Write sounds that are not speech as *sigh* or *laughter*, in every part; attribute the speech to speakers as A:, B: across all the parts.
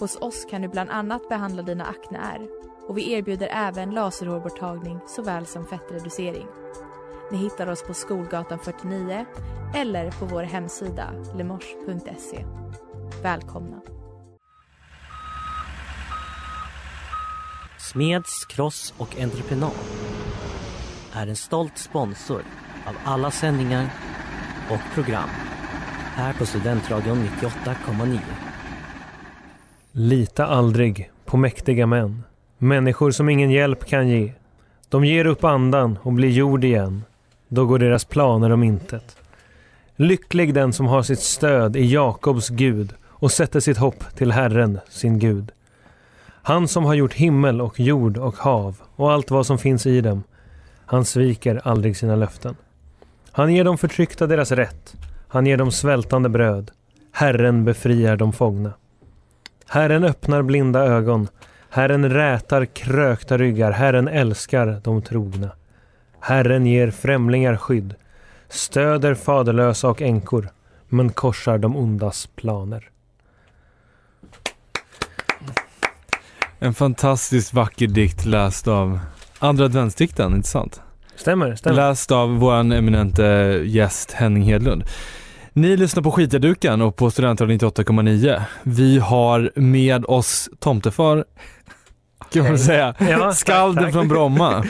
A: Hos oss kan du bland annat behandla dina akneär och vi erbjuder även laserhårborttagning såväl som fettreducering. Ni hittar oss på Skolgatan 49 eller på vår hemsida lemors.se. Välkomna!
B: Smeds, Cross och Entreprenad är en stolt sponsor av alla sändningar och program här på Studentradion 98,9.
C: Lita aldrig på mäktiga män. Människor som ingen hjälp kan ge. De ger upp andan och blir jord igen. Då går deras planer om intet. Lycklig den som har sitt stöd i Jakobs Gud och sätter sitt hopp till Herren, sin Gud. Han som har gjort himmel och jord och hav och allt vad som finns i dem. Han sviker aldrig sina löften. Han ger de förtryckta deras rätt. Han ger dem svältande bröd. Herren befriar de fångna. Herren öppnar blinda ögon. Herren rätar krökta ryggar. Herren älskar de trogna. Herren ger främlingar skydd, stöder faderlösa och änkor, men korsar de ondas planer.
D: En fantastiskt vacker dikt läst av andra adventsdikten, inte sant?
C: Stämmer, stämmer.
D: Läst av våran eminente gäst Henning Hedlund. Ni lyssnar på Skitjaduken och på Studentradion 98,9. Vi har med oss tomtefar, kan man säga,
C: Ja, *laughs* tack,
D: skalden
C: tack.
D: från Bromma,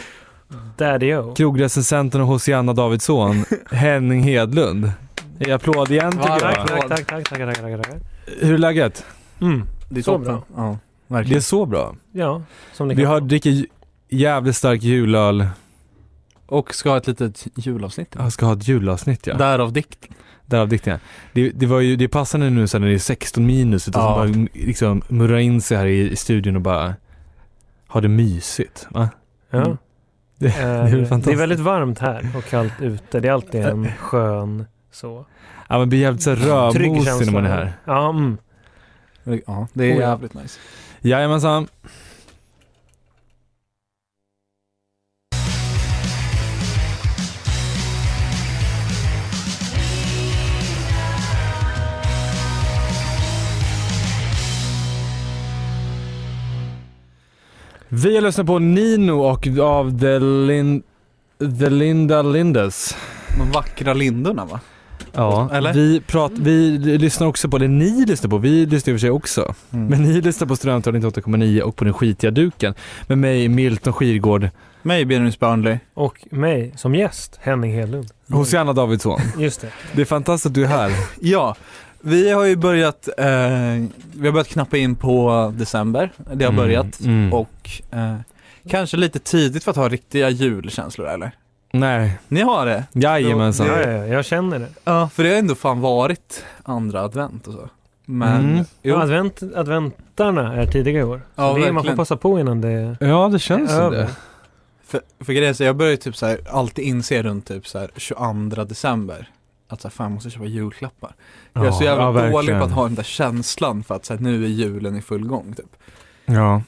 C: Daddy-o.
D: krogrecensenten och Hosianna Davidsson, Henning Hedlund. I applåd igen tycker
C: Tack, tack,
D: jag.
C: tack, tack, tack, tack, tack, tack.
D: Hur är läget?
C: Mm.
E: Det är
C: Så
E: toppen.
C: bra.
E: Ja,
D: Det är
E: verkligen.
D: så bra.
C: Ja, som ni
D: Vi har dricker j- jävligt stark julöl.
E: Och ska ha ett litet julavsnitt.
D: Jag ska ha ett julavsnitt ja.
E: Därav dikt.
D: Därav dikterna. Det, det var ju, det passar nu sen när det är 16 minus utan
E: Ja.
D: ja. bara liksom murra in sig här i, i studion och bara ha det mysigt. Va?
C: Ja.
D: Mm.
C: Eh,
D: *laughs* Det-
C: Det, är,
D: väl
C: det, är
D: fantastiskt. Eh.
C: väldigt varmt här och kallt ute. Det är alltid en skön så.
D: Ja men blir jävligt så här rödmosig när man är här.
C: Ja, mm.
E: Ja, det är
C: Oh, ja.
E: jävligt nice.
D: Jajamensan. Vi har lyssnat på Nino och av The, Lin- The Linda Lindes.
E: De vackra lindorna va?
D: Ja,
E: Eller?
D: Vi, prat, vi lyssnar också på det ni lyssnar på. Vi lyssnar i och för sig också.
C: Mm.
D: Men ni lyssnar på Studentradion 98,9 och på Den skitiga duken med mig Milton Skirgård,
E: Mig, Benjamin Burnley.
C: Och mig som gäst, Henning Hedlund.
D: Hosianna Davidsson.
C: Just det.
D: Det är fantastiskt att du är här.
E: Ja, vi har ju börjat, eh, vi har börjat knappa in på december. Det har
D: Mm,
E: börjat.
D: mm.
E: Och eh, kanske lite tidigt för att ha riktiga julkänslor eller?
D: Nej,
E: Ni har det?
D: jajamensan.
C: Ja, ja, ja, jag känner det.
E: Ja. För det har ändå fan varit andra advent och så. Men,
D: Mm.
E: jo.
C: Ja, advent, adventarna är tidigare i år. Så det
E: Ja,
C: är, man får
E: verkligen.
C: passa på innan det
D: Ja, det känns som det.
E: För, för grejen är så jag börjar typ så här, alltid inse runt typ så här 22 december att så här, fan jag måste köpa julklappar. Jag är så jävla
D: ja,
E: dålig
D: verkligen.
E: på att ha den där känslan för att så här, nu är julen i full gång typ.
D: Ja,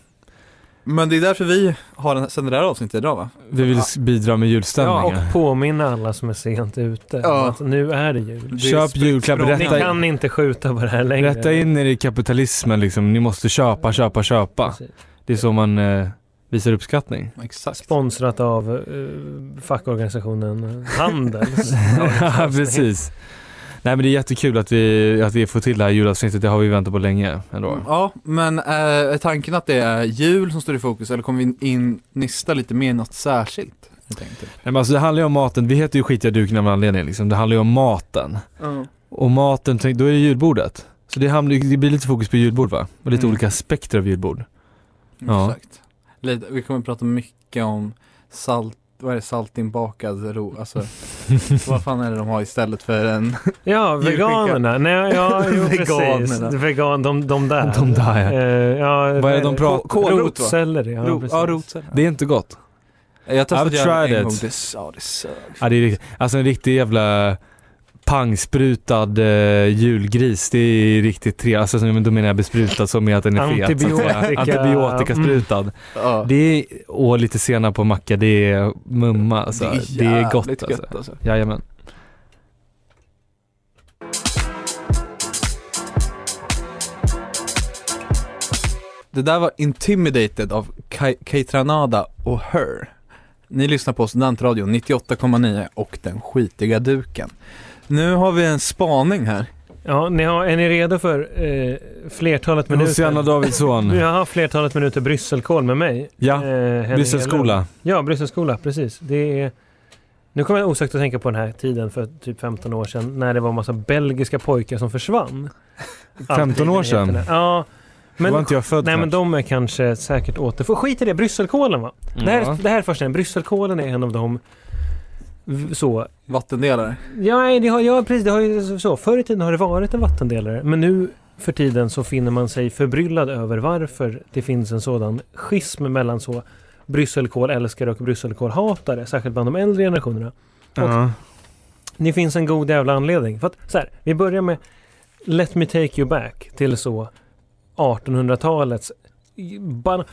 E: Men det är därför vi har den, sen det där avsnittet idag va?
D: vi vill s- bidra med
C: Ja,
D: julstämningar.
C: och påminna alla som är sent ute om
E: Ja.
C: att nu är det jul.
E: Det är
D: Köp
E: sprit-
D: julklappar,
E: språng-
C: Ni
D: rätta-
C: kan inte skjuta på det här längre.
D: Rätta in er i kapitalismen liksom. Ni måste köpa, köpa, köpa.
C: Precis.
D: Det är så man eh, visar uppskattning.
E: Exakt.
C: Sponsrat av eh, fackorganisationen eh, Handels.
D: *laughs* Ja, precis. Nej men det är jättekul att vi, att vi får till det här julavsnittet, det har vi väntat på länge ändå.
E: Ja, men eh, är tanken att det är jul som står i fokus eller kommer vi in, nysta lite mer i något särskilt? Jag tänkte.
D: Nej men alltså det handlar ju om maten, vi heter ju skitiga duken av en anledning liksom. Det handlar ju om maten. Och maten, tänk- då är det julbordet. Så det, hamnar, det blir lite fokus på julbord va? Och lite
E: Mm.
D: olika aspekter av julbord. Ja.
E: Exakt. Lite, vi kommer prata mycket om salt vad är det, saltinbakad ro, alltså vad fan är det de har istället för en
C: Ja,
E: Djursjuka.
C: veganerna. Nej, ja,
D: *laughs*
C: jo, precis.
E: Veganerna.
C: Vegan, de, de där.
D: De där, ja.
C: Eh, ja
D: Vad är det de pratar-
C: om?
E: kålrot, va?
C: Rotselleri. Ja,
E: ro,
C: precis.
E: ja, rotceller?
D: Det är inte gott.
E: Jag har
D: I've
E: testat göra det
D: tried
E: en
D: it.
E: gång, det, ja, det sög.
D: Ja, det är riktigt. Alltså en riktig jävla pangsprutad eh, julgris. Det är riktigt trevligt. Alltså som- då menar jag besprutad som i att den är fet. så att *laughs* säga.
C: Antibiotika.
D: Antibiotikasprutad.
E: Ja. mm.
D: Det är, och lite senap på macka, det är mumma alltså. Det är, gott
E: jävligt
D: alltså.
E: gött, alltså.
D: Jajamän.
E: Det där var Intimidated av Kai- Keitranada och Her. Ni lyssnar på Studentradion 98,9 och Den skitiga duken. Nu har vi en spaning här.
C: Ja, ni har, är ni redo för eh, flertalet
D: Luciana
C: minuter? *laughs*
D: Davidsson.
C: Jag har flertalet minuter Brysselkål med mig. Eh,
D: Ja,
C: Henning Hedlund.
D: Brysselskola.
C: Ja, Brysselskola, precis. Det är... Nu kommer jag osökt att tänka på den här tiden för typ 15 år sedan när det var en massa belgiska pojkar som försvann.
D: 15 år sedan?
C: Alltid i nyheterna. Ja.
D: Då
C: Men,
D: var inte jag född
C: nej, men
D: knappt.
C: de är kanske säkert återfå... Skit i det, Brysselkålen va? Det, här,
D: Ja.
C: det här är fascinerande. Brysselkålen är en av de v- så
E: Vattendelare.
C: Ja, nej, det har, ja precis. Det har ju så. Förr i tiden har det varit en vattendelare. Men nu för tiden så finner man sig förbryllad över varför det finns en sådan schism mellan så Brysselkålälskare och Brysselkålhatare. Särskilt bland de äldre generationerna.
D: Ja.
C: Det finns en god jävla anledning. För att, så här, vi börjar med Let me take you back till så 1800-talets ban-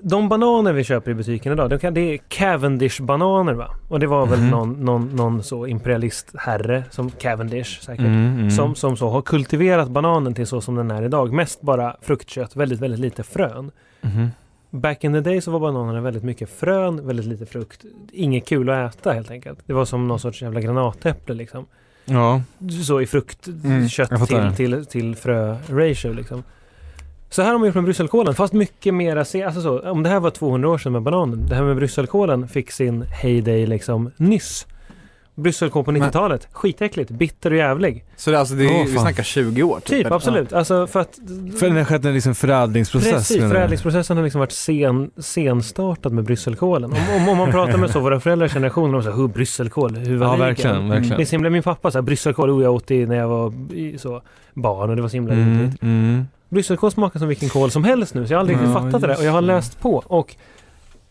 C: de bananer vi köper i butiken idag, de kan, det är Cavendish-bananer va? Och det var väl
D: Mhm.
C: någon, någon, någon så imperialist herre som Cavendish säkert.
D: Mm, mm.
C: Som, som så har kultiverat bananen till så som den är idag. Mest bara fruktkött, väldigt, väldigt lite frön. Mm-hmm.
D: Mhm.
C: Back in the day så var bananerna väldigt mycket frön, väldigt lite frukt. Inget kul att äta helt enkelt. Det var som någon sorts jävla granatäpple liksom.
D: Ja,
C: Så i
E: Mm,
C: fruktkött
D: jag fattar.
C: till, till, till frö-ratio liksom. Så här har man gjort med brysselkålen, fast mycket mera se, alltså så, om det här var 200 år sedan med bananen, det här med brysselkålen fick sin heyday liksom nyss. Brysselkål på 90-talet, skitäckligt, bitter och jävlig.
E: Så det, alltså, det,
D: Åh,
E: vi
D: fan.
E: snackar 20 år
C: Typ,
E: eller?
C: absolut. Alltså för att...
D: för det har skett en liksom förädlingsprocess.
C: Precis,
D: menar du?
C: förädlingsprocessen har liksom varit sen, senstartad med brysselkålen. Om, om, om man pratar med så våra föräldrars generation, de säger "Hu, brysselkål, hur var
D: Ja,
C: det?"
D: verkligen.
C: Det är
D: verkligen.
C: så himla, min pappa sa brysselkål, oh, jag åt det när jag var i- så, barn och det var så himla
D: Mm,
C: mm.
D: mm.
C: Brysselkål smakar som vilken kål som helst nu, så jag har aldrig riktigt
D: Ja,
C: fattat det där.
D: just
C: Och jag har
D: det.
C: läst på och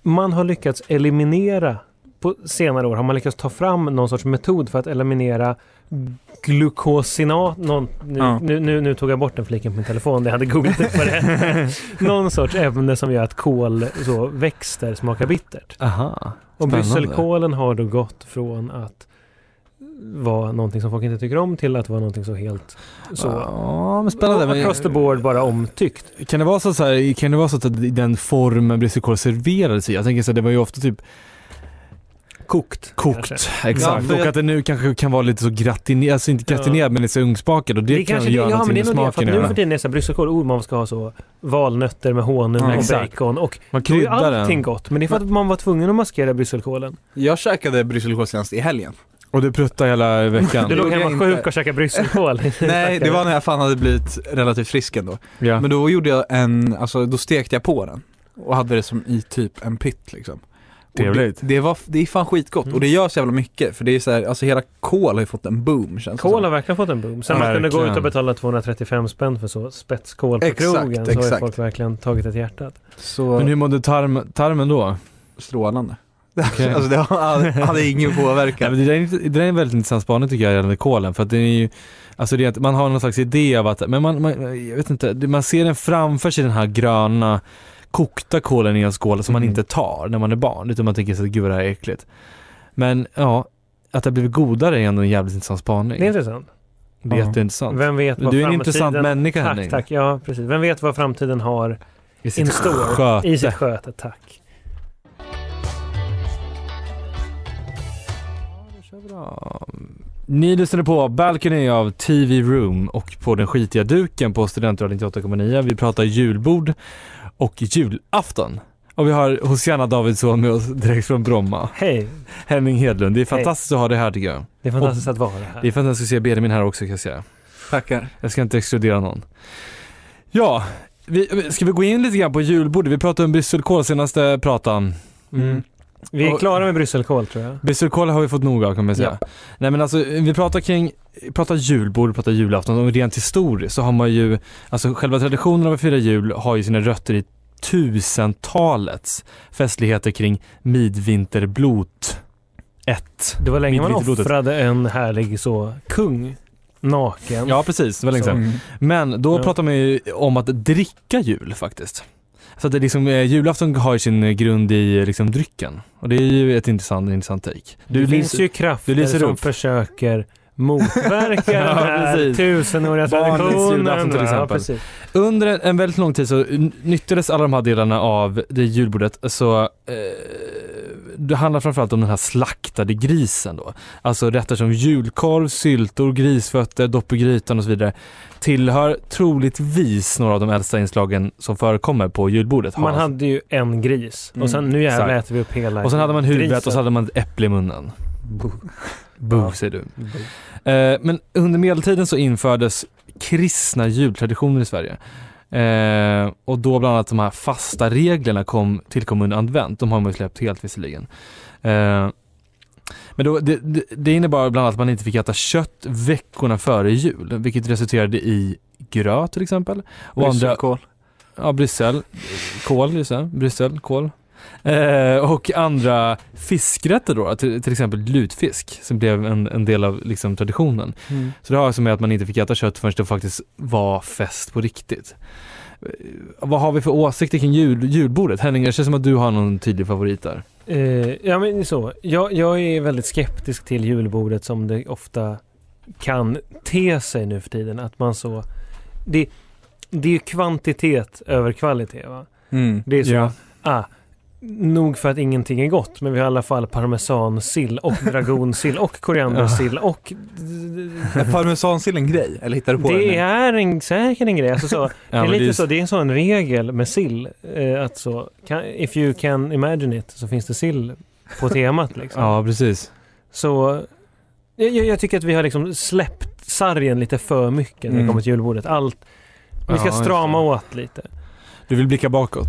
C: man har lyckats eliminera, på senare år har man lyckats ta fram någon sorts metod för att eliminera glukosinat, någon, nu,
E: Ja.
C: nu, nu, nu tog jag bort den fliken på min telefon, jag hade googlat upp vad det.
D: *laughs*
C: är. någon sorts ämne som gör att kål, så, växter smakar bittert.
D: Aha.
C: Och
D: Spännande.
C: brysselkålen har då gått från att vara någonting som folk inte tycker om till att vara någonting så helt så
D: Ja, men spännande. Men-
C: across the board bara omtyckt.
D: Kan det vara så, så här, kan det vara så att i den formen brysselkål serverades i? Jag tänker så här, det var ju ofta typ Kokt. Kokt,
C: kanske.
D: exakt.
E: Ja, för
D: och
E: jag-
D: att det nu kanske kan vara lite så gratinerad, alltså inte
C: Ja.
D: gratinerad men lite så ugnsbakad och det, kan
C: kanske
D: ju göra
C: det, ja, men
D: någonting
C: det är
D: med
C: nog det, för
D: smaken.
C: att nu för
D: eller?
C: tiden är så här, brysselkål, oh, man ska ha så valnötter med honung
E: Ja,
C: och
D: exakt.
C: bacon och
D: Man
C: då är ju
D: kryddar
C: allting
D: den.
C: gott. Men det är för att man var tvungen att maskera brysselkålen.
E: Jag käkade brysselkål senast
C: *laughs*
E: i helgen.
D: Och du pruttar hela
C: Du *laughs*
D: veckan.
C: låg
E: gjorde jag
C: hemma
E: inte.
C: sjuk och käkade
D: *laughs*
C: brysselkål.
E: Nej, det var när jag fan hade blivit relativt frisk ändå.
D: ja.
E: Men då gjorde jag en, alltså då stekte jag på den. Och hade det som i typ en pytt liksom. Och
D: Trevligt.
E: Det, det, var, det är fan skitgott
C: Mm.
E: och det gör så jävla mycket för det är så här, alltså hela kål har ju fått en boom känns det
C: Kål
E: som.
C: har verkligen fått en boom. Sen
D: Ja,
C: man kunde gå
D: verkligen.
C: ut och betala 235 spänn för så spetskål på
E: Exakt,
C: krogen så har ju
E: exakt.
C: folk verkligen tagit ett hjärta.
E: Så
D: Men hur mådde tarm, tarmen då?
E: strålande.
D: Okej.
E: *laughs* alltså det hade, hade ingen
D: Ja,
C: *laughs*
E: påverkan.
D: men det, där är, inte- det där är en väldigt intressant spaning tycker jag gällande kolen. För att den är ju, alltså det är, att man har någon slags idé av att, men man, man, jag vet inte, det- man ser den framför sig den här gröna kokta kolen i en skål som man
C: Mm.
D: inte tar när man är barn. Utan man tänker sig att gud vad det här är äckligt. Men ja, att det har blivit godare är ändå en jävligt intressant spaning.
C: Det är intressant.
D: Det är jätteintressant.
C: Vem vet vad
D: Du är en
C: framtiden...
D: intressant människa Henning.
C: Tack, tack. Ja, precis. Vem vet vad framtiden har
D: I
C: in
D: sitt
C: store
D: sköte.
C: i sitt sköte? Tack.
D: Bra. Ni lyssnade på Balcony av TV Room och på den skitiga duken på Studentradion 98,9. Vi pratar julbord och julafton. Och vi har Hosianna Davidsson med oss direkt från Bromma.
C: Hej.
D: Henning Hedlund, det är
C: Hej.
D: fantastiskt att ha dig här tycker jag.
C: Det är fantastiskt att vara här.
D: Det är fantastiskt att se Benjamin här också kan jag säga.
E: Tackar.
D: Jag ska inte exkludera någon. Ja, vi, ska vi gå in lite grann på julbordet? Vi pratade om brysselkål senaste pratan.
C: Mm. Vi är
D: Och-
C: klara med brysselkål tror jag.
D: Bisserkola har vi fått nog av kan man säga. Nej men alltså vi pratar kring, pratar julbord, pratar julafton och rent historiskt så har man ju, alltså själva traditionen av att fira jul har ju sina rötter i tusentalets festligheter kring midvinterblot 1.
C: Det var länge man
D: Mitt lite blodet.
C: offrade en härlig så kung naken.
D: Ja precis, det var länge
C: Så.
D: sedan. Men då
C: Ja.
D: pratar man ju om att dricka jul faktiskt. Så att det liksom, eh, julafton har ju sin eh, grund i eh, liksom drycken. Och det är ju ett intressant, intressant take.
C: Du det finns
D: lyser-
C: ju krafter
D: du lyser
C: som
D: upp. *laughs*
C: försöker motverka
D: Ja,
C: den här
D: precis.
C: tusenåriga
D: Barnens
C: traditionen.
D: julafton till
C: Ja,
D: exempel.
C: precis.
D: Under en, en väldigt lång tid så n- nyttjades alla de här delarna av det julbordet. Så, eh, det handlar framförallt om den här slaktade grisen då. Alltså rätter som julkorv, syltor, grisfötter, dopp i grytan och så vidare. Tillhör troligtvis några av de äldsta inslagen som förekommer på julbordet.
C: Man
D: Hans.
C: hade ju en gris och sen nu jävlar
D: Mm, Exakt.
C: äter vi upp hela
D: och sen hade man huvudet och så
C: grisen.
D: hade man ett äpple i munnen.
C: Ja.
D: Bo, säger du. Eh, men under medeltiden så infördes kristna jultraditioner i Sverige. Eh, och då bland annat de här fasta reglerna kom, tillkom under advent. De har man ju släppt helt visserligen. Eh, men då, det, det- det innebar bland annat att man inte fick äta kött veckorna före jul, vilket resulterade i gröt till exempel. Och andra,
E: Brysselkål.
D: ja, Bryssel, kål, just det. Bryssel, kål. Eh, och andra fiskrätter då, till, till exempel lutfisk, som blev en, en del av liksom, traditionen. Så det har alltså med att man inte fick äta kött förrän det faktiskt var fest på riktigt. Eh, Vad har vi för åsikter kring jul, julbordet? Henning, det känns som att du har någon tydlig favorit där.
C: Eh, ja men så. Jag, jag är väldigt skeptisk till julbordet som det ofta kan te sig nu för tiden. Att man så... Det, det är ju kvantitet över kvalitet va?
E: Mm.
C: Det är så
D: Ja.
C: Ah, nog för att ingenting är gott, men vi har i alla fall parmesansill
D: *laughs*
C: och dragonsill och koriandersill och...
E: Är parmesansill en grej? Eller hittar du på
C: Det
E: det
C: är en, säkert en grej. Alltså
D: *laughs*
C: så, det är
D: men
C: lite
D: ju-
C: så, det är en sån regel med sill. Eh, att så, can, if you can imagine it så finns det sill på
D: *laughs*
C: temat liksom.
D: Ja, precis.
C: Så jag, jag jag tycker att vi har liksom släppt sargen lite för mycket när det
E: Mm.
C: kommer till julbordet. Allt, vi ska
D: Ja, just
C: strama
D: det.
C: åt lite.
D: Du vill blicka bakåt.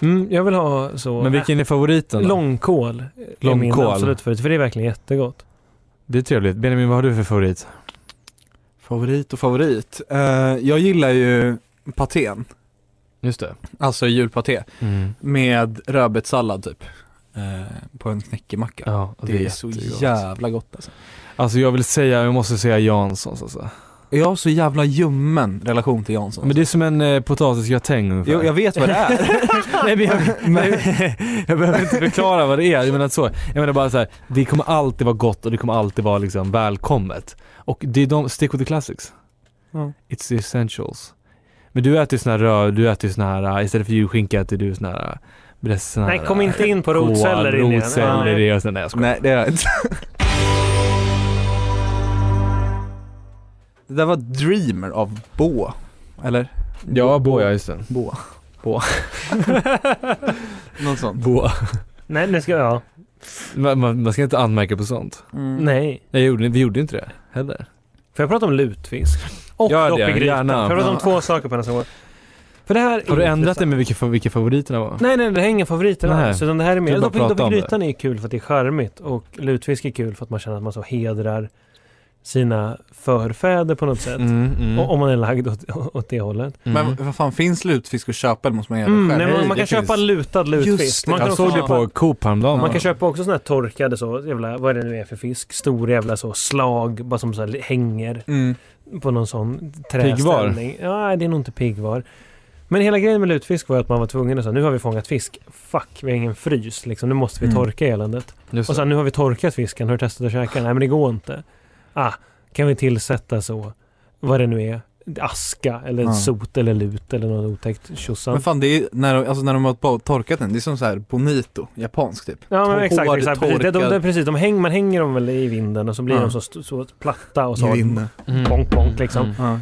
C: Mm, jag vill ha så...
D: Men vilken är favoriten? då?
C: Långkål eh, är min
D: Långkål.
C: absolut favorit, för det är verkligen jättegott.
D: Det är trevligt. Benjamin, vad har du för favorit?
E: Favorit och favorit. Eh, jag gillar ju patén,
D: Just det.
E: alltså julpaté,
D: Mm.
E: med rödbetssallad typ. Eh, på en knäckemacka.
D: Ja, och
E: det, är så
D: jättegott.
E: jävla gott alltså.
D: Alltså jag vill säga, jag måste säga Janssons alltså.
E: Jag har så jävla ljummen relation till Jansson. alltså.
D: Men det är som en eh, potatisgratäng ungefär.
E: jag, jag vet vad det är.
D: *laughs*
C: *laughs*
D: Nej, men jag, men, *laughs* jag behöver inte förklara vad det är. Jag menar, så, jag menar bara så här, det kommer alltid vara gott och det kommer alltid vara liksom välkommet. Och det är de, stick with the classics.
C: Ja.
D: It's the essentials. Men du äter ju sån här röd, du äter ju sån här, äh, istället för julskinka äter du sån här, äh, blir det sån här
C: Nej, kom inte in på rotceller in igen.
D: Rotceller i och sån, nej jag skojar.
E: *laughs* Nej, det är jag inte. Det där var Dreamer av Bo. Eller?
D: Ja, boa, just det.
E: Bo.
D: Bo.
E: Något sånt.
D: Boa.
C: Nej, nu ska jag...
D: Man, man, man ska inte anmärka på sånt.
C: Nej.
D: Nej, jag gjorde, vi gjorde inte det heller.
C: Får jag prata om lutfisk? Och
D: Gör
C: dopp
D: det,
C: i grytan.
D: gärna.
C: Får jag prata om
E: Ja.
C: två saker på den här gången? För det här är
D: Har du ändrat
C: intressant.
D: dig med vilka, vilka favoriterna var?
C: Nej, nej, det här är ingen favorit
D: Nej.
C: alls. Utan det här är mer...
D: Du bara
C: Dopp i- dopp
D: pratar
C: i
D: om det.
C: grytan är ju kul för att det är charmigt och lutfisk är kul för att man känner att man så hedrar sina förfäder på något sätt.
D: Mm, mm,
C: Och- Om man är lagd åt, åt det hållet.
D: mm.
E: Men vad fan, finns lutfisk att köpa eller måste man göra
C: Mm,
E: det
C: nej,
E: själv?
C: man,
D: Nej,
C: man
D: det
C: kan köpa
D: finns.
C: lutad
E: Just
C: lutfisk.
E: det,
C: Man kan
D: jag
C: också
D: såg det
C: köpa-
D: på Coop häromdagen.
C: Man kan köpa också såna här torkade så, jävla, vad är det nu är för fisk? Stor jävla så slag, bara som så här hänger
E: Mm.
C: på någon sån
D: Piggvar?
C: träställning. Ja, det är nog inte piggvar. Men hela grejen med lutfisk var att man var tvungen att säga nu har vi fångat fisk. Fuck, vi har ingen frys liksom. Nu måste vi
E: Mm.
C: torka eländet.
D: Just
C: Och sen nu har vi torkat fisken. Har du testat att käka den? Nej, men det går inte. Ah, kan vi tillsätta så, vad det nu är, aska eller
E: Ja.
C: sot eller lut eller något otäckt tjossan.
E: Men fan det är, när de, alltså när de har to- torkat den, det är som så här bonito, japansk typ.
C: Ja men
E: Hård,
C: exakt, exakt. precis. De, de,
E: torkad.
C: de, precis de häng, man hänger dem väl i vinden och så blir
E: Ja.
C: de så, st- så platta och
E: I
C: så
E: vinne.
D: Mm.
C: bonk, bonk, liksom.
E: Ja.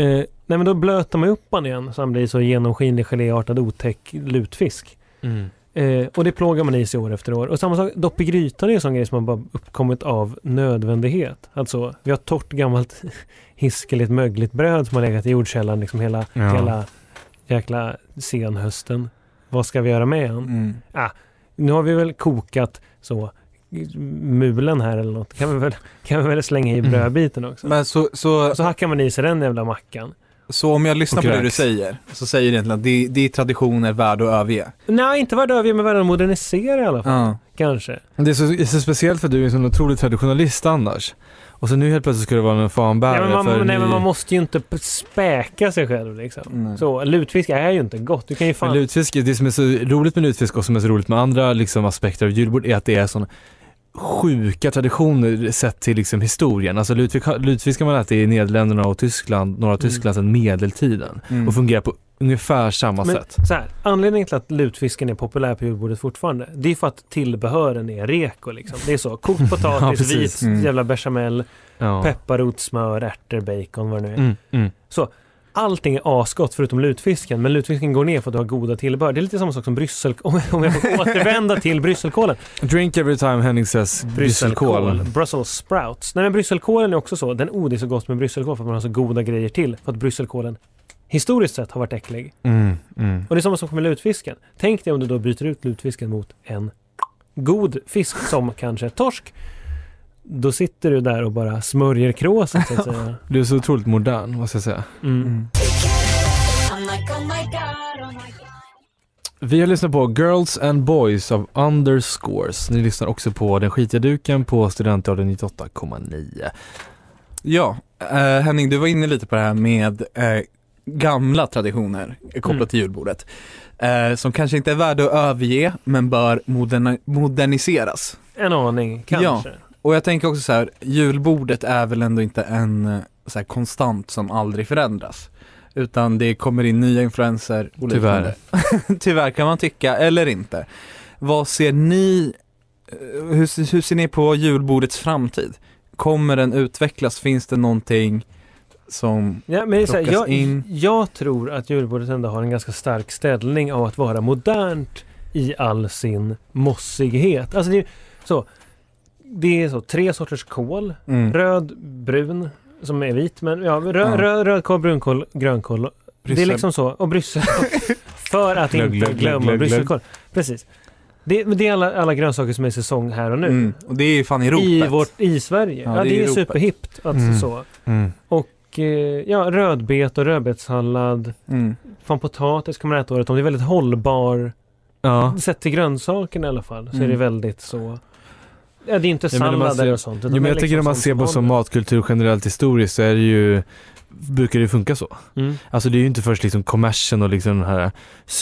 C: Eh, nej men då blöter man upp han igen så han blir så genomskinlig geléartad otäck lutfisk.
D: Mm.
C: Eh, och det plågar man i sig år efter år. Och samma sak, dopp i grytan är ju en sån grej som har bara uppkommit av nödvändighet. Alltså, vi har torrt gammalt *laughs* hiskeligt mögligt bröd som har legat i jordkällaren liksom hela,
D: Ja.
C: hela jäkla senhösten. Vad ska vi göra med han?
E: Mm.
C: Nu har vi väl kokat så mulen här eller något. Kan vi väl, kan vi väl slänga i
D: Mm.
C: brödbiten också?
E: Men så, så,
C: Och så hackar man i sig den jävla mackan.
E: så om jag lyssnar
D: Och
E: på det du
D: kräks.
E: säger, så säger du egentligen att det, det är traditioner värda att överge.
C: Nej, inte värda överge, men värda att modernisera i alla fall.
E: Ja.
C: Kanske.
D: Det är, så, det är så speciellt för du är en sån otrolig traditionalist annars. Och så nu helt plötsligt ska du vara en fanbärare
C: Nej men,
D: för
C: man, nej,
D: ny-
C: men man måste ju inte p- späka sig själv liksom.
E: Mm.
C: Så, lutfisk är ju inte gott. Du kan ju
D: Men
C: fan...
D: lutfisk, det som är så roligt med lutfisk och som är så roligt med andra liksom, aspekter av julbord är att det är sån sjuka traditioner sett till liksom, historien. Alltså lutfisk, lutfisk har man ätit i Nederländerna och Tyskland,
C: Mm.
D: norra Tyskland sedan medeltiden
E: Mm.
D: och fungerar på ungefär samma
C: Men-
D: sätt.
C: Så här, anledningen till att lutfisken är populär på julbordet fortfarande, det är för att tillbehören är reko liksom. Det är så,
D: *laughs*
C: kokt
D: Ja,
C: potatis,
D: precis.
C: vit
E: Mm.
C: jävla bechamel,
D: Ja.
C: pepparrot, smör, ärtor, bacon, vad det nu är.
D: Mm, mm.
C: Allting är asgott förutom lutfisken, men lutfisken går ner för att du har goda tillbehör. Det är lite samma sak som Bryssel... *laughs* Om jag får återvända till brysselkålen.
D: Drink every time Henning says brysselkål.
C: Brussels sprouts. Nej men brysselkålen är också så. Den oh, det är så gott med brysselkål för att man har så goda grejer till. För att brysselkålen historiskt sett har varit äcklig.
D: Mm, mm.
C: Och det är samma sak med lutfisken. Tänk dig om du då byter ut lutfisken mot en god fisk som *laughs* kanske torsk. Då sitter du där och bara smörjer kråset så att säga.
D: Du är så otroligt modern, vad ska jag säga.
C: Mm.
E: Mm.
D: Vi har lyssnat på Girls and Boys av Underscores. Ni lyssnar också på Den skitiga duken på Studentradion 98,9.
E: Ja, eh, Henning, du var inne lite på det här med eh, gamla traditioner kopplat
C: Mm.
E: till julbordet. Eh, som kanske inte är värda att överge, men bör moderna- moderniseras.
C: En aning kanske.
E: Och jag tänker också så här, julbordet är väl ändå inte en eh, så här, konstant som aldrig förändras. Utan det kommer in nya influenser och liknande. *laughs* Tyvärr kan man tycka, eller inte. Vad ser ni, eh, hur, se- hur ser ni på julbordets framtid? Kommer den utvecklas? Finns det någonting som,
C: Ja, men det är så här,
E: Plockas
C: jag,
E: in.
C: jag tror att julbordet ändå har en ganska stark ställning av att vara modernt i all sin mossighet. Alltså det, är, så, det är så tre sorters kål.
E: mm,
C: Röd, brun, som är vit. Men ja, röd,
E: Ja.
C: röd, rödkål, brunkål, grönkål. Det är
E: Bryssel.
C: liksom så. Och Bryssel. För att
D: Glögg,
C: inte
D: glögg,
C: glömma
D: glögg, glögg.
C: brysselkål. Precis. Det, men det är alla, alla grönsaker som är i säsong här och nu.
E: mm, och det är ju fan i ropet.
C: I, vårt, I Sverige. Ja,
E: Ja,
C: det,
E: det är
C: är
E: i ropet.
C: superhippt. Alltså
D: Mm.
C: så. Och, eh, ja, rödbet och rödbetssallad.
E: Mm.
C: Fan potatis kan man äta året om. Det är väldigt hållbar.
D: Ja.
C: Sett till grönsakerna i alla fall så är
E: Mm.
C: det väldigt så. Ja, det är inte
D: Ja, men när man
C: sallader
D: ser-
C: och sånt. utan
D: Jo, men
C: det är
D: jag tänker
C: liksom
D: när man
C: sånt
D: ser på som
C: håller.
D: matkultur generellt historiskt så är det ju, brukar det ju funka så.
C: Mm.
D: Alltså det är ju inte först liksom kommersen och liksom den här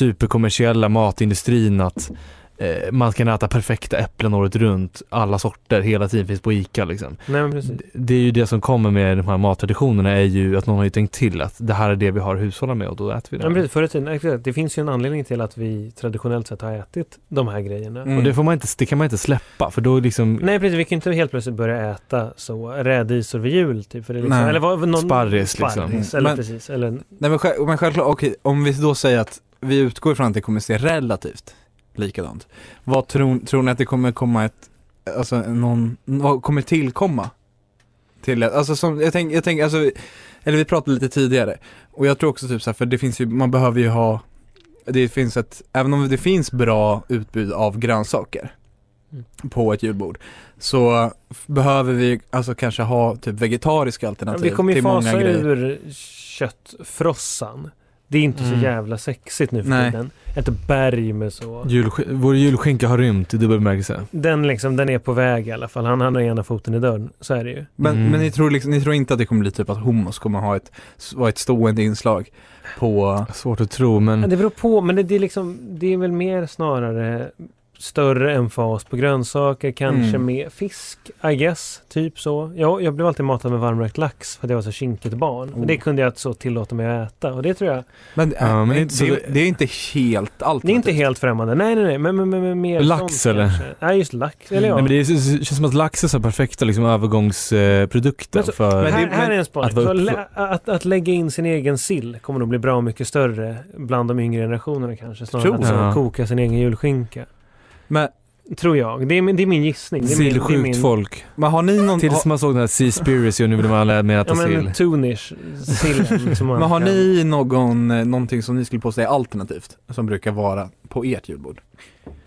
D: superkommersiella matindustrin att eh, man kan äta perfekta äpplen året runt, alla sorter hela tiden finns på ICA liksom.
C: Nej, men precis.
D: Det är ju det som kommer med de här mattraditionerna är ju att någon har ju tänkt till att det här är det vi har att hushålla med och då äter vi det.
C: Ja, men precis. Förr i tiden, exakt. det finns ju en anledning till att vi traditionellt sett har ätit de här grejerna.
E: Mm.
D: Och det, får man inte, det kan man inte släppa för då liksom
C: Nej precis, vi kan inte helt plötsligt börja äta så rädisor vid jul. Typ, för det är liksom,
E: Nej.
C: eller vad, någon,
D: Sparris, liksom.
C: sparris, Eller
E: Men-
C: precis. Eller,
E: Nej men, själv, men självklart, okej, om vi då säger att vi utgår från att det kommer se relativt likadant. Vad tror, tror ni att det kommer komma ett, alltså någon, vad kommer tillkomma? Till, ett- alltså som, jag tänker, jag tänk, alltså, vi- eller vi pratade lite tidigare. Och jag tror också typ så här, för det finns ju, man behöver ju ha, det finns ett, även om det finns bra utbud av grönsaker
C: Mm.
E: på ett julbord. Så f- behöver vi alltså kanske ha typ vegetariska
C: Ja,
E: alternativ
C: vi kommer ju
E: typ, till många
C: fasa
E: grejer.
C: ur köttfrossan. Det är inte
D: Mm.
C: så jävla sexigt nu för
E: Nej.
C: tiden. Ett berg med så.
D: julsk- vår julskinka har rymt i dubbel bemärkelse.
C: Den, liksom, den är på väg i alla fall. Han, han har ena foten i dörren. Så är det ju.
E: Men,
D: Mm.
E: men ni, tror liksom, ni tror inte att det kommer bli typ att hummus kommer ha ett, vara ett stående inslag på...
D: Svårt att tro men
C: Ja, det beror på, men det, det, är liksom, det är väl mer snarare större emfas på grönsaker, kanske
E: Mm.
C: med fisk, I guess, typ så. Jag, jag blev alltid matad med varmrökt lax för att jag var så kinkigt barn. Men det
E: Oh.
C: kunde jag inte så tillåta mig att äta och det tror jag.
E: Men,
D: Ja, men
E: men
D: det-
E: det,
D: så
E: det,
D: det-
E: är inte helt allt.
C: Det är inte helt främmande. Nej, nej, nej. Men, men, men, men mer
D: Lax,
C: sånt
D: eller?
C: kanske. Nej, just lax. Eller ja.
D: Nej, men det är- det känns som att lax är så här perfekta liksom, övergångsprodukter
C: Men så-
D: för...
E: men
C: här,
E: det-
C: här Alltså, är en spaning.
D: att vara
C: Så
D: upp-
C: lä- Att, att lägga in sin egen sill kommer nog bli bra mycket större bland de yngre generationerna kanske. Snarare än
E: Tror
C: att
D: jag.
C: så koka sin egen julskinka.
E: Men,
C: Tror jag. Det är, min- det är min gissning. Det är min, det är min,
D: Sillsjukt folk.
E: men har ni någon...
D: Tills
E: Ha,
D: man såg den här Seaspiracy och nu vill man alla med äta
C: Ja
D: sill.
C: men tunish
D: *laughs*
C: sillen. som man
E: men har
C: kan-
E: ni någon, eh, någonting som ni skulle påstå är alternativt? Som brukar vara på ert julbord?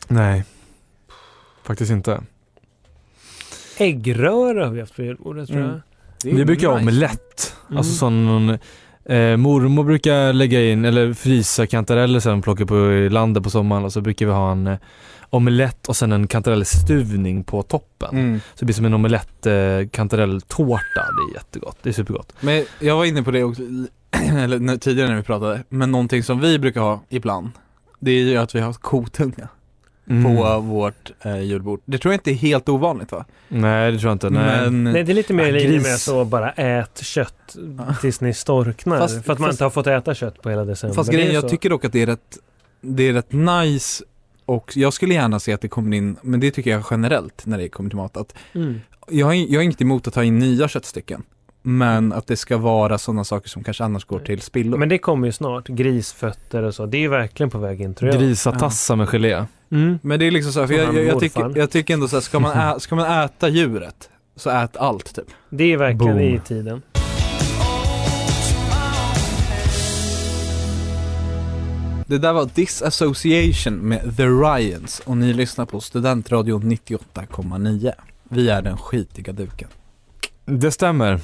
D: Nej. faktiskt inte.
C: Äggröra har vi haft på julbordet tror jag.
E: Mm. Det är
D: Vi brukar ha
E: nice.
D: omelett.
C: Mm.
D: Alltså sån någon, eh, mormor brukar lägga in, eller frysa kantareller sen plocka på i landet på sommaren och så brukar vi ha en eh, omelett och sen en kantarellstuvning på toppen.
E: Mm.
D: Så det blir som en omelett eh, kantarelltårta. Det är jättegott. Det är supergott.
E: Men jag var inne på det också, *clears throat* eller när- tidigare när vi pratade, men någonting som vi brukar ha ibland, det är ju att vi har kotunga på eh, vvårt eh, julbord. Det tror jag inte är helt ovanligt va?
D: Nej det tror jag inte. Nej.
E: Men,
C: Nej, det är lite mer i
D: Ah,
C: linje med
D: gris.
C: så bara ät kött
E: Ja.
C: tills ni storknar.
E: Fast-
C: för att man
E: fast-
C: inte har fått äta kött på hela december.
E: fast
C: Det
E: grejen,
C: är
E: jag
C: så.
E: tycker dock att det är rätt, det är rätt nice och jag skulle gärna se att det kommer in, men det tycker jag generellt när det kommer till mat, att
C: Mm.
E: jag har, in- jag har inget emot att ta in nya köttstycken, men att det ska vara sådana saker som kanske annars går till spillo.
C: Mm. Men det kommer ju snart. Grisfötter och så. Det är ju verkligen på väg in tror jag.
D: Grisatassa med gelé.
C: Mm.
E: Men det är liksom så här, för
C: Som
E: jag,
C: han
E: jag, jag,
C: morfar.
E: tycker, jag tycker ändå så här, ska
C: *laughs*
E: man, ä, ska man äta djuret, så ät allt typ.
C: Det är verkligen
D: Boom.
C: i tiden.
E: Det där var Disassociation med The Ryans och ni lyssnar på Studentradion 98,9. Vi är den skitiga duken.
D: Det stämmer.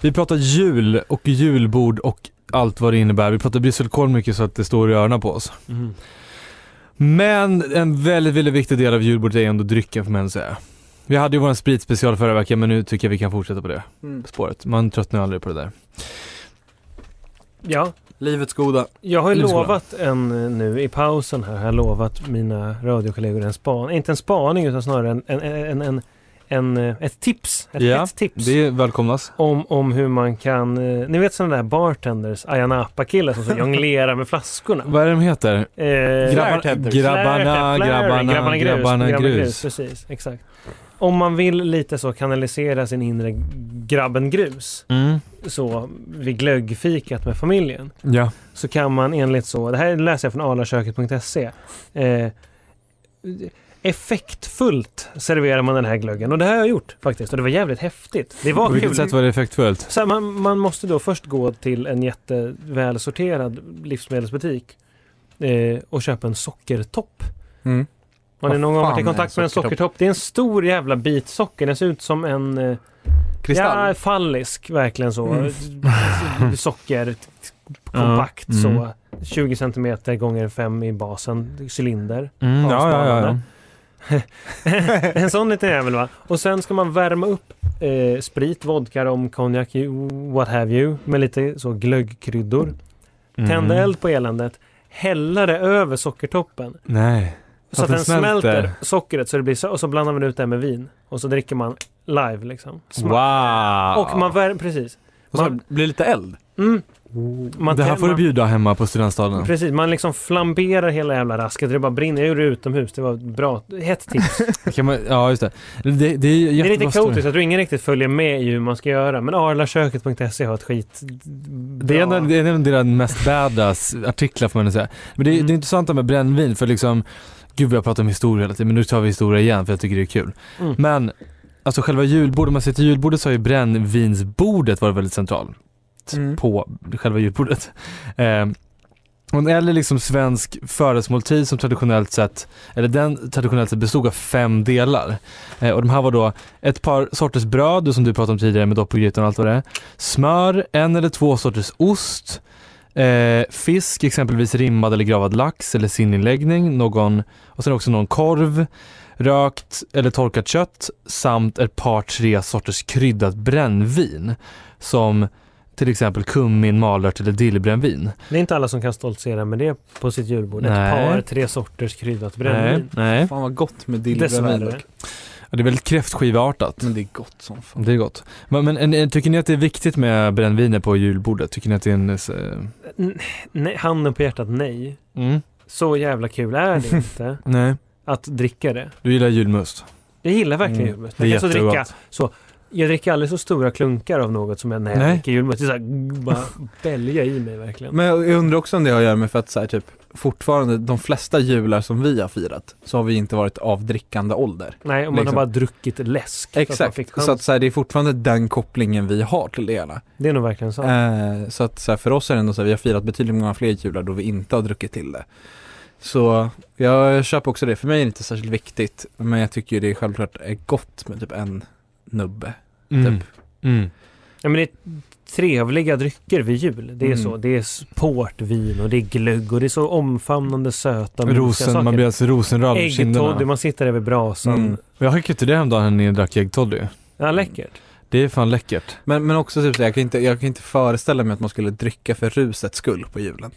D: Vi pratar jul och julbord och allt vad det innebär. Vi pratar brysselkål mycket så att det står i öronen på oss. Men en väldigt, väldigt viktig del av julbordet är ändå drycken får man ändå säga. Vi hade ju vår spritspecial förra veckan men nu tycker jag vi kan fortsätta på det
C: Mm.
D: spåret. Man tröttnar aldrig på det där.
C: Ja,
E: Livets goda.
C: jag har ju
D: Livsskola.
C: lovat en eh, nu i pausen här. Jag har lovat mina radiokollegor en spaning. Inte en spaning utan snarare en, en, en, en, en, eh, ett tips. Ett
D: Ja,
C: hett tips.
D: Det välkomnas.
C: Om, om hur man kan, eh, ni vet sådana där bartenders, Ayanapa-killar som så jonglerar med flaskorna.
D: Vad är det de heter?
C: Eh,
D: Grabbar-
E: Flairtenders.
D: grabbarna,
C: Flair-
D: grabbarna, grabbarna,
C: grus,
D: grus.
C: Precis, exakt. Om man vill lite så kanalisera sin inre grabben grus
D: Mm.
C: så vid glöggfikat med familjen
D: Ja.
C: så kan man enligt så, det här läser jag från alaköket.se. Eh, effektfullt serverar man den här glöggen och det här har jag gjort faktiskt och det var jävligt häftigt. Det var
D: På vilket
C: kul.
D: sätt var det effektfullt?
C: Så här, man, man måste då först gå till en jättevälsorterad livsmedelsbutik eh, och köpa en sockertopp.
E: Mm.
C: Har ni
E: Vad
C: någon gång varit i
E: fan är
C: kontakt med en
E: sockertopp?
C: sockertopp? Det är en stor jävla bit socker. Den ser ut som en eh,
E: Kristall.
C: Ja, fallisk verkligen så. *laughs* Socker, kompakt
D: Ja, mm.
C: så. 20 centimeter gånger 5 i basen, cylinder. *laughs*
D: Mm, ja, ja, ja, ja.
C: Avsmalnande. en sån liten jävel va. Och sen ska man värma upp eh, sprit, vodka, rom, konjak, you- what have you. Med lite så glöggkryddor.
D: Mm.
C: Tända eld på eländet. Hälla det över sockertoppen.
D: Nej.
C: Så, att den smälter. sockret så det blir så, och så blandar man ut det här med vin. Och så dricker man live liksom. Sma-
D: Wow!
C: Och man värmer, precis.
E: Och så här,
C: Man-
E: blir det lite eld.
C: Mm. Man
D: det här får du
C: man-
D: bjuda hemma på studentstaden.
C: Precis, man liksom flamberar hela jävla rasket. Det bara brinner. Jag gjorde det utomhus. Det var ett bra. Hett tips.
D: Kan man, ja, just det. Det, det är ju
C: det är
D: jättebra
C: lite
D: story.
C: kaotiskt. Jag tror ingen riktigt följer med i hur man ska göra. Men arlaköket.se har ett skit...
D: Det är, en, av- det är en av deras mest badass artiklar får man ändå säga. Men det, är-
C: Mm.
D: det är intressant det här med brännvin för liksom, gud vad jag pratar om historia hela tiden, men nu tar vi historia igen för jag tycker det är kul.
C: Mm.
D: Men, alltså själva julbordet, om man ser till julbordet så har ju brännvinsbordet varit väldigt centralt
E: Mm.
D: på själva julbordet. Eh, och eller liksom svensk födelsemåltid som traditionellt sett, eller den traditionellt sett bestod av fem delar. Eh, och de här var då ett par sorters bröd som du pratade om tidigare med dopp och gryta och allt vad det är. Smör, en eller två sorters ost, eh, fisk, exempelvis rimmad eller gravad lax eller sinninläggning, någon, och sen också någon korv, rökt eller torkat kött samt ett par tre sorters kryddat brännvin som till exempel kummin, malört eller dillbrännvin.
C: Det är inte alla som kan stoltsera med det på sitt julbord.
D: Nej.
C: Ett par, tre sorters kryddat brännvin.
D: Nej, nej.
E: Fan vad gott med dillbrännvin
C: Dessvärre.
E: dock.
D: Ja, Det är väldigt kräftskiveartat.
E: Men det är gott som fan.
D: Det är gott. Men, men en- en- tycker ni att det är viktigt med brännviner på julbordet? Tycker ni att det är en... eh,
C: Nej, handen på hjärtat, nej.
D: Mm?
C: Så jävla kul är
D: *laughs*
C: det inte
D: Nej.
C: att dricka det.
D: Du gillar julmust?
C: Jag gillar verkligen
E: Mm.
C: julmust.
D: Det är
C: Man kan så
D: jättegott.
C: dricka, så, jag dricker aldrig så stora klunkar av något som jag när jag
D: Nej.
C: dricker julmust. Det är så här, mm, bara
D: *laughs*
C: bälja i mig verkligen.
E: Men jag jag undrar också om det har att göra med för att så här, typ fortfarande de flesta jular som vi har firat så har vi inte varit av drickande ålder.
C: Nej, om man
E: Liksom.
C: har bara druckit läsk. för att man fick
E: Exakt,
C: chans.
E: så att så här, det är fortfarande den kopplingen vi har till det hela.
C: det är nog verkligen
D: Äh.
C: sant.
E: Eh, så att så här, för oss är det ändå så här, vi har firat betydligt många fler jular då vi inte har druckit till det. Så jag köper också det. För mig är det inte särskilt viktigt. Men jag tycker ju det är självklart är gott med typ en nubbe.
D: Mm.
E: Typ.
D: Mm.
C: Ja, men det är trevliga drycker vid jul. Det är
E: Mm.
C: så. Det är s- portvin och det är glögg och det är så omfamnande söta mysiga
D: Rosen, man
C: saker.
D: blir alltså rosenröd över
C: Äggtoddy,
D: kinderna.
C: man sitter där vid brasan.
E: Mm.
D: Och Jag skickade till det häromdagen när ni drack äggtoddy.
C: Ja, läckert.
D: Det är fan läckert.
E: Men, men också typ så, jag kan, inte, jag kan inte föreställa mig att man skulle dricka för rusets skull på julen.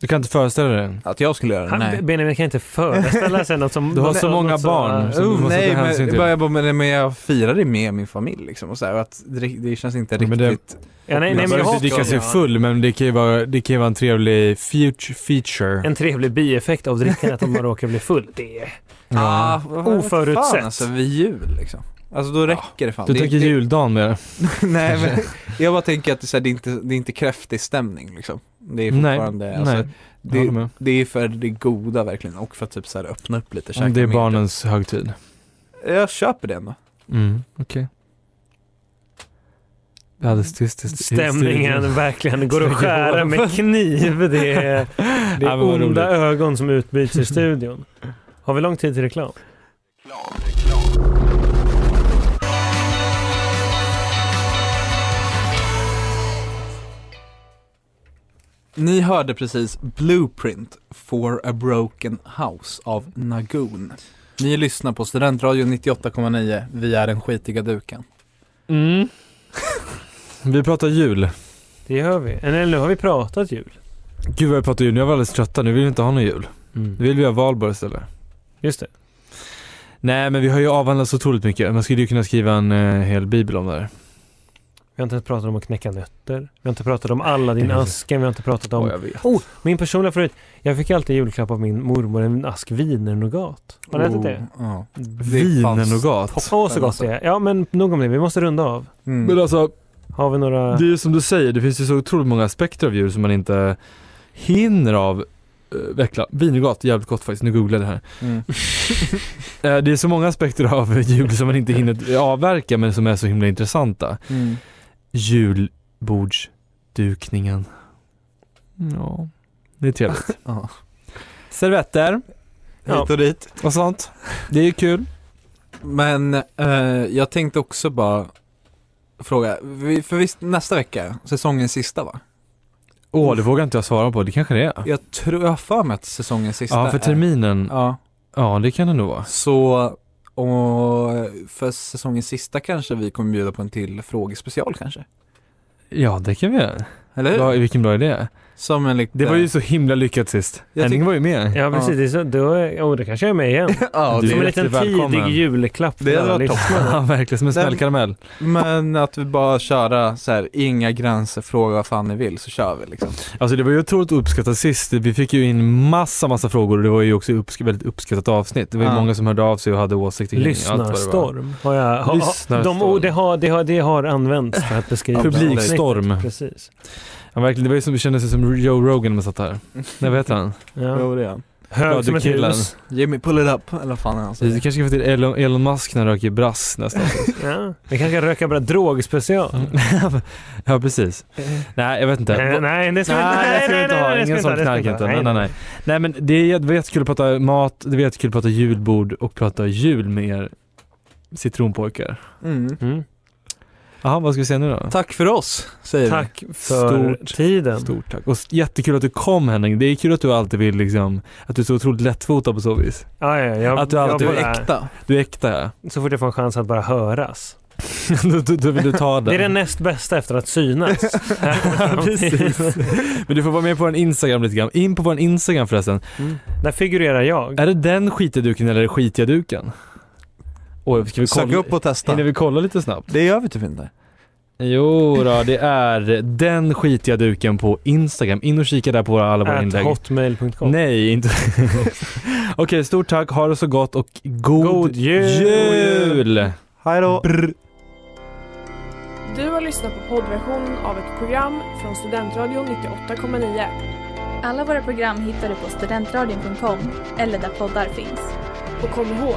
D: Du kan inte föreställa dig det.
E: Att jag skulle göra det?
C: Han,
E: Nej.
C: Benjamin kan inte
D: *laughs*
C: föreställa sig något som...
D: Du har
C: något-
D: så många
C: något
D: barn
E: Alltså,
D: som-
C: uh,
D: måste ta
E: Oh, nej,
D: hänsyn
E: men,
D: till.
E: bara, jag bara, men, men jag firar det med min familj liksom. Och så här, och att det, det känns inte
D: Ja, men
E: riktigt...
D: det-
C: ja, nej,
D: Man
C: nej, men
D: behöver
C: jag har
D: inte dricka sig full men det kan ju vara, det kan ju vara en trevlig future feature.
C: en trevlig bieffekt av drickandet om man råkar bli full. Det är...
E: Ah, vad fan,
C: Oförutsett.
E: Fan, alltså vid jul liksom. Alltså då räcker det fan.
D: Du
E: det,
D: tänker
E: det,
D: juldagen med det?
E: *laughs* Nej *laughs* men jag bara tänker att det är, så här, det är inte, det är inte kräftig stämning liksom. Det är
D: Nej,
E: fortfarande,
D: nej.
E: alltså,
D: Jag håller
E: Det,
D: med.
E: det är för det goda verkligen och för att typ så här, öppna upp lite,
D: Om
E: käka
D: det är
E: mer.
D: barnens högtid.
E: Jag köper det ändå.
D: Mm, okej. Det är alldeles tyst i- i studion.
C: *laughs* Stämningen verkligen
D: *laughs*
C: går att skära med kniv. Det är, det
D: Ja,
C: är
D: men vad roligt.
C: onda ögon som utbyts i studion. Har vi lång tid till reklam?
E: Ni hörde precis Blueprint for a broken house av Nagoon. Ni lyssnar på Studentradion 98,9. Vi är den skitiga duken.
D: Mm. *laughs* Vi pratar jul.
C: Det gör vi. Eller nu har vi pratat jul.
D: Gud vad vi pratar jul, nu är vi alldeles trötta, nu vill vi inte ha någon jul. Nu vill vi ha valborg istället.
C: Just det.
D: Nej men vi har ju avhandlat så otroligt mycket, man skulle ju kunna skriva en eh, hel bibel om det här.
C: Vi har inte ens pratat om att knäcka nötter. Vi har inte pratat om alla din
D: Nej.
C: asken. Vi har inte pratat om...
D: Åh, jag vet.
C: Oh, min personliga favorit. Jag fick alltid i julklapp av min mormor en ask vinernougat. Har ni ätit det?
E: Oh, Ja. Det är fan
D: Vinernougat.
C: Åh, så gott det är. Ja, men nog om det. Vi måste runda av.
E: Mm.
D: Men alltså,
C: Har vi några...
D: det är ju som du säger, det finns ju så otroligt många aspekter av djur som man inte hinner av eh, veckla. Vinougat, jävligt gott faktiskt, nu googlade jag det här.
E: Mm.
D: *laughs* Eh, Det är så många aspekter av jul som man inte hinner avverka men som är så himla intressanta.
E: Mm.
D: Julbordsdukningen. Ja, det är trevligt.
E: Ja.
D: *laughs* Servetter
C: Ja.
E: Hit och dit.
D: och sånt. Det är ju kul.
E: Men eh, jag tänkte också bara fråga, vi, för visst nästa vecka, säsongens sista va?
D: Åh, det vågar inte jag svara på. Det kanske det är.
E: Jag tror, jag har för mig att säsongens sista
D: Ja, för
E: är-
D: terminen.
E: Ja,
D: Ja, det kan det nog vara.
E: så och för säsongens sista kanske vi kommer bjuda på en till frågespecial kanske?
D: Ja, det kan vi göra.
E: Eller hur?
D: Bra, vilken bra idé.
E: Som en liten...
D: Det var ju så himla lyckat sist.
E: Jag
D: Henning
E: tyck-
D: var ju med.
C: Ja, precis.
E: Ja.
C: Det, är så, då, är- oh, då kanske jag är med igen.
E: *laughs* ja,
D: Du
E: det,
C: Som
D: är
C: en liten
D: hjärtligt välkommen.
C: tidig julklapp liksom. till
E: Det hade
C: alla
E: varit
C: lyssnare. *laughs*
D: *laughs* Ja, verkligen. Som en smällkaramell.
E: men att vi bara köra så här, inga gränser, fråga vad fan ni vill så kör vi liksom.
D: Alltså det var ju otroligt uppskattat sist. Vi fick ju in massa, massa frågor och det var ju också uppsk- väldigt uppskattat avsnitt. Det var ju
E: Ja.
D: många som hörde av sig och hade åsikter kring allt vad det var.
C: Lyssnarstorm. Har jag, har,
D: Lyssnarstorm.
C: De, ord- det, har, det, har, det har använts för att beskriva
D: *laughs* Publikstorm.
C: avsnittet. Precis.
D: Ja, verkligen. Det var ju som, det kändes ju som Joe Rogan när man
C: *laughs*
D: satt här. Nej, vad heter han?
C: Ja.
E: Jo, det är han.
C: Hög som ett
D: Radiokillen.
C: hus.
E: Jimmy pull it up, eller vad fan är han
D: Vi
E: säger.
D: kanske ska få till Elon, Elon Musk när han röker
C: *laughs*
D: brass nästa avsnitt.
C: Ja. Vi kanske kan röka bara drogspecial.
D: Mm.
C: Eh,
D: Ja, precis. Nej, jag vet inte.
C: Nej, nej, det ska vi inte
D: Nej, det ska vi inte
C: nej,
D: ha.
C: nej, det ska
D: Ingen
C: vi
D: sån
C: inte ha, det
D: knark
C: ska vi
D: inte.
C: ha.
D: Nej, nej, nej. Nej, men det är- det var jättekul att prata mat, det var jättekul att prata julbord och prata jul med er citronpojkar.
E: Mm.
C: Mm.
D: Jaha, vad ska vi säga nu då?
E: Tack för oss, säger vi.
C: Tack för
D: Stort-
C: tiden.
D: Stort tack. Och s- jättekul att du kom Henning. Det är kul att du alltid vill liksom, att du är så otroligt lättfotad på så vis.
C: Ja, ja, jag,
D: Att du alltid
C: jag
E: Du är
C: bara,
E: äkta.
D: Du är äkta ja. *laughs*
C: Så fort jag får en chans att bara höras.
D: då, då, då vill du ta den.
C: Det är
D: *laughs*
C: det näst bästa efter att synas. *laughs*
D: Precis. Men du får vara med på vår Instagram lite grann. In på vår Instagram förresten.
C: Där figurerar jag.
D: Är det den skitiga duken eller är det skitiga duken? Oj, ska vi
E: Sök
D: kolla?
E: upp och testa.
D: Hinner vi kolla lite snabbt?
E: Det gör vi typ inte.
D: Jo då, det är den skitiga duken på Instagram. In och kika där på våra- alla våra
C: At
D: inlägg.
C: hotmail.com.
D: Nej, inte... *laughs* Okej, stort tack. Ha det så gott och god,
C: God jul! Oh,
D: jul!
E: Hej då.
F: Du har lyssnat på poddversionen av ett program från Studentradion 98,9
G: Alla våra program hittar du på studentradion.com eller där poddar finns.
F: och kom ihåg